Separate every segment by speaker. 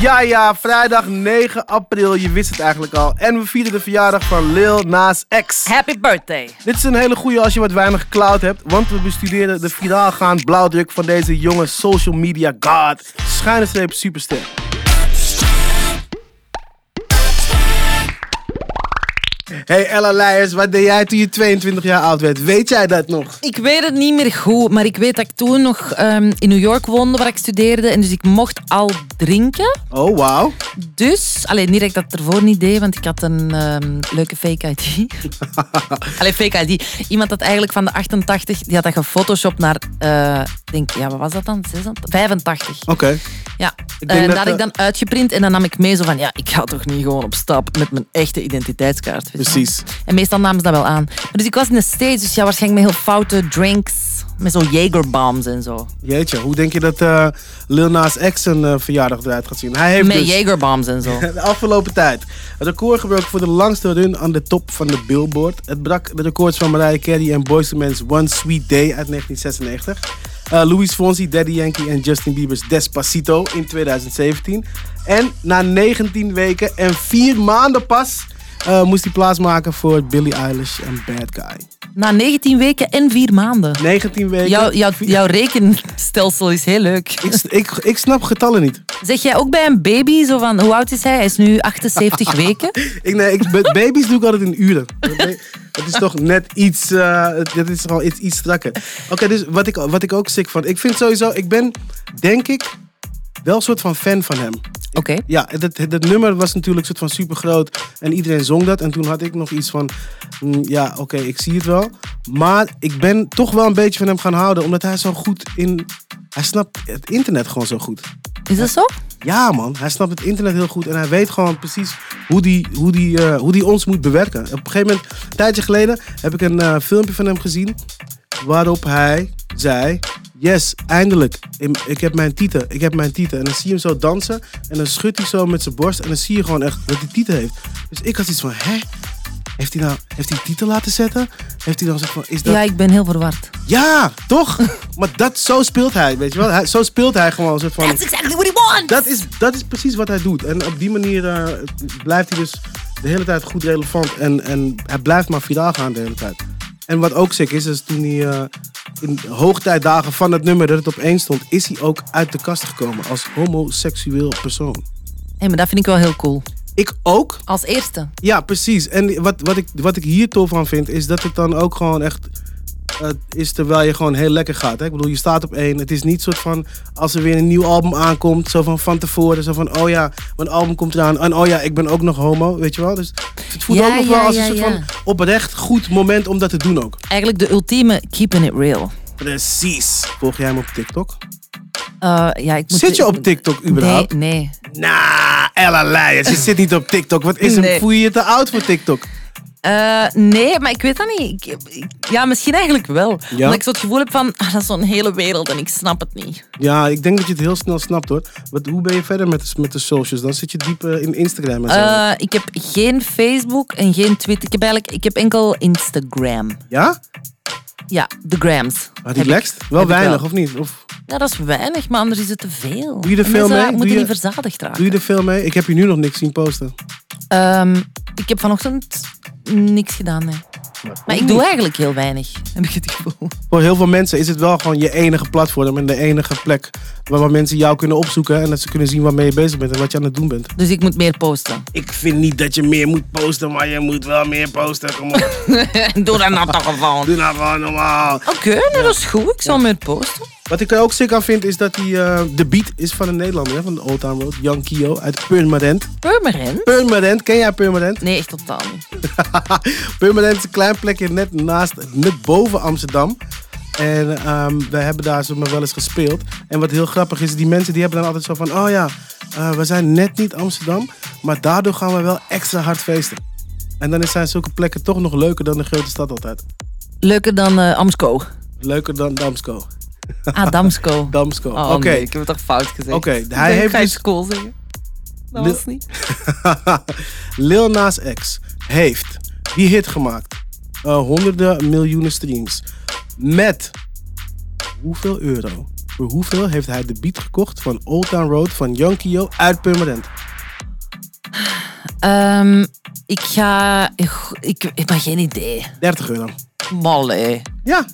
Speaker 1: Ja, ja, vrijdag 9 april, je wist het eigenlijk al. En we vieren de verjaardag van Lil Nas X.
Speaker 2: Happy birthday.
Speaker 1: Dit is een hele goeie als je wat weinig cloud hebt, want we bestuderen de viraalgaand blauwdruk van deze jonge social media god. Schuine streep superster. Hey Ella Leijers, wat deed jij toen je 22 jaar oud werd? Weet jij dat nog?
Speaker 2: Ik weet het niet meer goed, maar ik weet dat ik toen nog ehm, in New York woonde waar ik studeerde. En dus ik mocht al drinken.
Speaker 1: Oh, wauw.
Speaker 2: Dus, alleen niet dat ik dat ervoor niet deed, want ik had een ehm, leuke fake ID. alleen fake ID. Iemand had eigenlijk van de 88, die had dat gefotoshopt naar, eh, ik denk, ja, wat was dat dan? 86? 85.
Speaker 1: Oké.
Speaker 2: Ja,
Speaker 1: Oh,
Speaker 2: Eh,
Speaker 1: Ik denk
Speaker 2: en
Speaker 1: dat eh,
Speaker 2: dat had ik
Speaker 1: de-
Speaker 2: dan uitgeprint en dan nam ik mee zo van, ja, ik ga toch niet gewoon op stap met mijn echte identiteitskaart. weet je wel.
Speaker 1: Precies.
Speaker 2: En meestal namen ze dat wel aan. Maar dus ik was in de States, dus ja, waarschijnlijk met heel foute drinks. Met zo Jagerbombs en zo.
Speaker 1: Jeetje, hoe denk je dat eh, Lil Nas X een eh, verjaardag eruit gaat zien? Hij heeft
Speaker 2: Met
Speaker 1: dus
Speaker 2: Jagerbombs en zo.
Speaker 1: de afgelopen tijd het record gebroken voor de langste run aan de top van de Billboard. Het brak de records van Mariah Carey en Boyz II Men's One Sweet Day uit 1996. Eh Louis Fonsi, Daddy Yankee en Justin Bieber's Despacito in 2017. En na 19 weken en 4 maanden pas eh, moest hij plaatsmaken voor Billie Eilish en Bad Guy.
Speaker 2: Na 19 weken en 4 maanden.
Speaker 1: 19 weken.
Speaker 2: Jouw, jouw,
Speaker 1: vier-
Speaker 2: jouw rekenstelsel is heel leuk.
Speaker 1: Ik, ik, ik snap getallen niet.
Speaker 2: Zeg jij ook bij een baby zo van, hoe oud is hij? Hij is nu 78 weken.
Speaker 1: Ik, nee, ik, met baby's doe ik altijd in uren. Het is toch net iets, eh, het het is gewoon iets, iets strakker. Oké, dus wat ik, wat ik ook sick vond. Ik vind sowieso, ik ben denk ik wel een soort van fan van hem.
Speaker 2: Oké.
Speaker 1: Ja, dat, dat nummer was natuurlijk een soort van super groot en iedereen zong dat. En toen had ik nog iets van, mm, ja oké, ik zie het wel. Maar ik ben toch wel een beetje van hem gaan houden, omdat hij zo goed in... Hij snapt het internet gewoon zo goed.
Speaker 2: Is dat zo?
Speaker 1: Ja, man. Hij snapt het internet heel goed. En hij weet gewoon precies hoe die, hoe die, eh, hoe die ons moet bewerken. Op een gegeven moment, een tijdje geleden, heb ik een eh, filmpje van hem gezien. Waarop hij zei: Yes, eindelijk. Ik, ik heb mijn tieten. Ik heb mijn tieten. En dan zie je hem zo dansen. En dan schudt hij zo met zijn borst. En dan zie je gewoon echt dat hij tieten heeft. Dus ik had iets van: Hè? Heeft hij nou heeft hij tieten laten zetten? Heeft hij dan zo van: Is dat.
Speaker 2: Ja, ik ben heel verward.
Speaker 1: Ja, toch? maar dat, zo speelt hij. Weet je wel? Hij, zo speelt hij gewoon. Een soort van.
Speaker 2: That's exactly what he wants!
Speaker 1: Dat is, dat is precies wat hij doet. En op die manier eh, blijft hij dus de hele tijd goed relevant. En, en hij blijft maar viraal gaan de hele tijd. En wat ook sick is, is toen hij eh, in de hoogtijdagen van het nummer dat het op één stond, is hij ook uit de kast gekomen als homoseksueel persoon.
Speaker 2: Hé, maar dat vind ik wel heel cool.
Speaker 1: Ik ook.
Speaker 2: Als eerste.
Speaker 1: Ja, precies. En wat, wat, ik, wat ik hier tof aan vind, is dat het dan ook gewoon echt eh, is terwijl je gewoon heel lekker gaat. Hè? Ik bedoel, je staat op één. Het is niet soort van als er weer een nieuw album aankomt, zo van van tevoren, zo van oh ja, mijn album komt eraan en oh ja, ik ben ook nog homo, weet je wel? Dus het voelt
Speaker 2: Ja,
Speaker 1: ook nog
Speaker 2: ja,
Speaker 1: wel als
Speaker 2: ja,
Speaker 1: een soort
Speaker 2: ja.
Speaker 1: van oprecht goed moment om dat te doen ook.
Speaker 2: Eigenlijk de ultieme keeping it real.
Speaker 1: Precies. Volg jij hem op TikTok?
Speaker 2: Eh, ja, ik moet
Speaker 1: Zit je op TikTok überhaupt?
Speaker 2: Nee, nee.
Speaker 1: Nah, Ella Leijers, je zit niet op TikTok. Wat is hem?
Speaker 2: Nee.
Speaker 1: Voel je je te oud voor TikTok?
Speaker 2: Eh, nee, maar ik weet dat niet. Ik- ik- ja, misschien eigenlijk wel. Omdat ik zo het gevoel heb van, ah, dat is zo'n hele wereld en ik snap het niet.
Speaker 1: Ja, ik denk dat je het heel snel snapt hoor. Wat, hoe ben je verder met de, met de socials? Dan zit je diep eh, in Instagram en zo.
Speaker 2: Eh, ik heb geen Facebook en geen Twitter. Ik heb eigenlijk ik heb enkel Instagram.
Speaker 1: ja?
Speaker 2: Ja, de grams.
Speaker 1: Maar die
Speaker 2: Heb ik.
Speaker 1: lekst? Wel
Speaker 2: Heb ik
Speaker 1: weinig,
Speaker 2: wel.
Speaker 1: of niet? Of
Speaker 2: Ja, dat is weinig, maar anders is het te veel.
Speaker 1: Doe je er
Speaker 2: En
Speaker 1: veel
Speaker 2: mensen
Speaker 1: mee? Doe
Speaker 2: moeten
Speaker 1: je-
Speaker 2: niet verzadigd raken.
Speaker 1: doe je er veel mee? Ik heb je nu nog niks zien posten.
Speaker 2: Ehm, ik heb vanochtend niks gedaan, nee. Maar ik doe eigenlijk heel weinig, heb ik het gevoel.
Speaker 1: Voor heel veel mensen is het wel gewoon je enige platform en de enige plek waar, waar mensen jou kunnen opzoeken en dat ze kunnen zien waarmee je bezig bent en wat je aan het doen bent.
Speaker 2: Dus ik moet meer posten.
Speaker 1: Ik vind niet dat je meer moet posten, maar je moet wel meer posten. Kom op,
Speaker 2: Doe dat nou toch gewoon. Oké,
Speaker 1: doe nou gewoon normaal.
Speaker 2: nee, dat is goed. Ik zal meer posten.
Speaker 1: Wat ik er ook sick aan vind is dat die, eh, de beat is van een Nederlander, hè, van de Old Town Road, Jan Kio uit Purmerend.
Speaker 2: Permanent?
Speaker 1: Purmerend, ken jij Purmerend?
Speaker 2: Nee, echt totaal niet.
Speaker 1: Permanent is een klein plekje net naast, net boven Amsterdam. En ehm, we hebben daar zomaar wel eens gespeeld. En wat heel grappig is, die mensen die hebben dan altijd zo van... Oh ja, eh, we zijn net niet Amsterdam, maar daardoor gaan we wel extra hard feesten. En dan zijn zulke plekken toch nog leuker dan de grote stad altijd.
Speaker 2: Leuker dan eh Amsco.
Speaker 1: Leuker dan Damsko.
Speaker 2: Ah, Damsco.
Speaker 1: Damsko.
Speaker 2: Oh,
Speaker 1: Oké,
Speaker 2: nee, ik heb het toch fout gezegd.
Speaker 1: Oké, hij
Speaker 2: Ik denk,
Speaker 1: heeft
Speaker 2: ik ga
Speaker 1: dus-
Speaker 2: iets cool zeggen. Dat
Speaker 1: Lil-
Speaker 2: was niet.
Speaker 1: Lil Nas X heeft die hit gemaakt. Eh, honderden miljoenen streams. Met hoeveel euro Voor hoeveel heeft hij de beat gekocht van Old Town Road van Yankee uit Purmerend?
Speaker 2: Ehm, ik ga... Ik, ik, ik heb geen idee.
Speaker 1: 30 euro.
Speaker 2: Malle.
Speaker 1: Ja,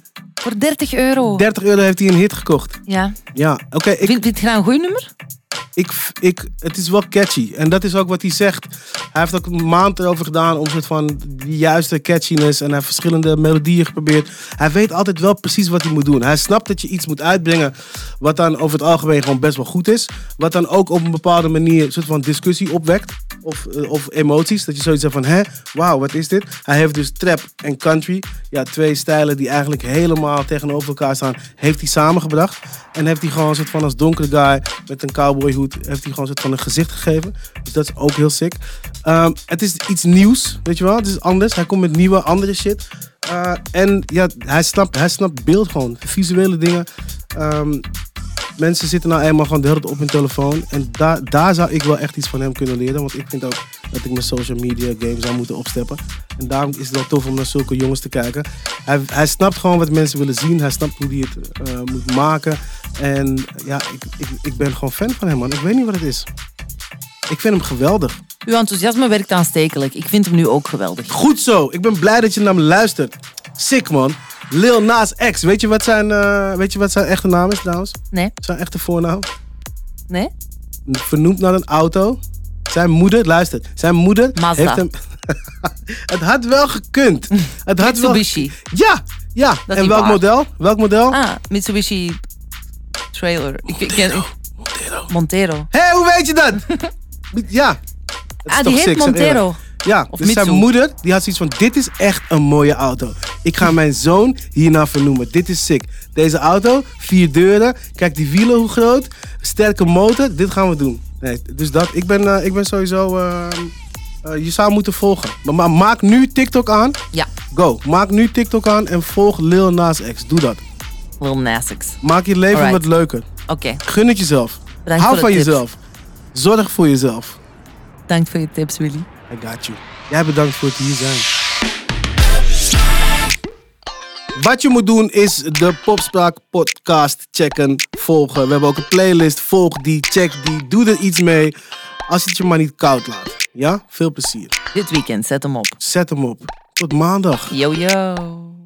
Speaker 2: Voor 30 euro.
Speaker 1: 30 euro heeft hij een hit gekocht.
Speaker 2: Ja.
Speaker 1: Ja, oké. ik,
Speaker 2: Vind, vind je dat een goed nummer?
Speaker 1: ik, ik, het is wel catchy. En dat is ook wat hij zegt. Hij heeft ook een maand erover gedaan om soort van die juiste catchiness. En hij heeft verschillende melodieën geprobeerd. Hij weet altijd wel precies wat hij moet doen. Hij snapt dat je iets moet uitbrengen. Wat dan over het algemeen gewoon best wel goed is. Wat dan ook op een bepaalde manier een soort van discussie opwekt. Of, eh, of emoties. Dat je zoiets zegt van, hè, wauw, wat is dit? Hij heeft dus trap en country. Ja, twee stijlen die eigenlijk helemaal tegenover elkaar staan. Heeft hij samengebracht. En heeft hij gewoon een soort van als donkere guy met een cowboyhoed. Heeft hij gewoon een soort van een gezicht gegeven. Dus dat is ook heel sick. Ehm, het is iets nieuws, weet je wel. Het is anders. Hij komt met nieuwe, andere shit. Eh, en ja, hij snapt, hij snapt beeld gewoon. Visuele dingen. Ehm, mensen zitten nou eenmaal gewoon de hele tijd op hun telefoon. En daar daar zou ik wel echt iets van hem kunnen leren. Want ik vind ook dat ik mijn social media game zou moeten opsteppen. En daarom is het wel tof om naar zulke jongens te kijken. Hij, hij snapt gewoon wat mensen willen zien. Hij snapt hoe hij het eh, moet maken. En ja, ik, ik, ik ben gewoon fan van hem, man. Ik weet niet wat het is. Ik vind hem geweldig.
Speaker 2: Uw enthousiasme werkt aanstekelijk. Ik vind hem nu ook geweldig.
Speaker 1: Goed zo. Ik ben blij dat je naar me luistert. Sick, man. Lil Nas X. Weet je wat zijn, eh, weet je wat zijn echte naam is, trouwens?
Speaker 2: Nee?
Speaker 1: Zijn echte voornaam?
Speaker 2: Nee?
Speaker 1: vernoemd naar een auto. Zijn moeder, luister, zijn moeder
Speaker 2: Mazda.
Speaker 1: heeft hem. het had wel gekund. Het had wel.
Speaker 2: Mitsubishi.
Speaker 1: Ja, ja.
Speaker 2: Dat
Speaker 1: en
Speaker 2: is
Speaker 1: welk
Speaker 2: waar.
Speaker 1: model? Welk model?
Speaker 2: Ah, Mitsubishi trailer. Ik, ik ken
Speaker 1: Montero.
Speaker 2: Montero.
Speaker 1: Hé, hoe weet je dat? ja. Het is
Speaker 2: Ah,
Speaker 1: toch
Speaker 2: die heet
Speaker 1: sick, zeg eerlijk.
Speaker 2: Montero.
Speaker 1: Ja,
Speaker 2: Of
Speaker 1: dus zijn
Speaker 2: Mitsu.
Speaker 1: moeder die had zoiets van: Dit is echt een mooie auto. Ik ga mijn zoon hierna vernoemen. Dit is sick. Deze auto, vier deuren. Kijk die wielen hoe groot. Sterke motor. Dit gaan we doen. Nee, dus dat, ik ben, eh, ik ben sowieso. eh, eh, je zou moeten volgen. Maar, maar maak nu TikTok aan.
Speaker 2: Ja,
Speaker 1: Go. Maak nu TikTok aan en volg Lil Nas X. Doe dat.
Speaker 2: Lil Nas X.
Speaker 1: Maak je leven
Speaker 2: Alright.
Speaker 1: wat leuker.
Speaker 2: Oké,
Speaker 1: Gun het jezelf.
Speaker 2: Bedankt
Speaker 1: Hou
Speaker 2: voor
Speaker 1: van
Speaker 2: de tips.
Speaker 1: jezelf. Zorg voor jezelf.
Speaker 2: dank voor je tips, Willy.
Speaker 1: I got you. Jij bedankt voor het hier zijn. Wat je moet doen is de Popspraak podcast checken, volgen. We hebben ook een playlist. Volg die, check die, doe er iets mee. Als je het je maar niet koud laat. Ja? Veel plezier.
Speaker 2: Dit weekend, zet hem op.
Speaker 1: Zet hem op. Tot maandag.
Speaker 2: Yo, yo.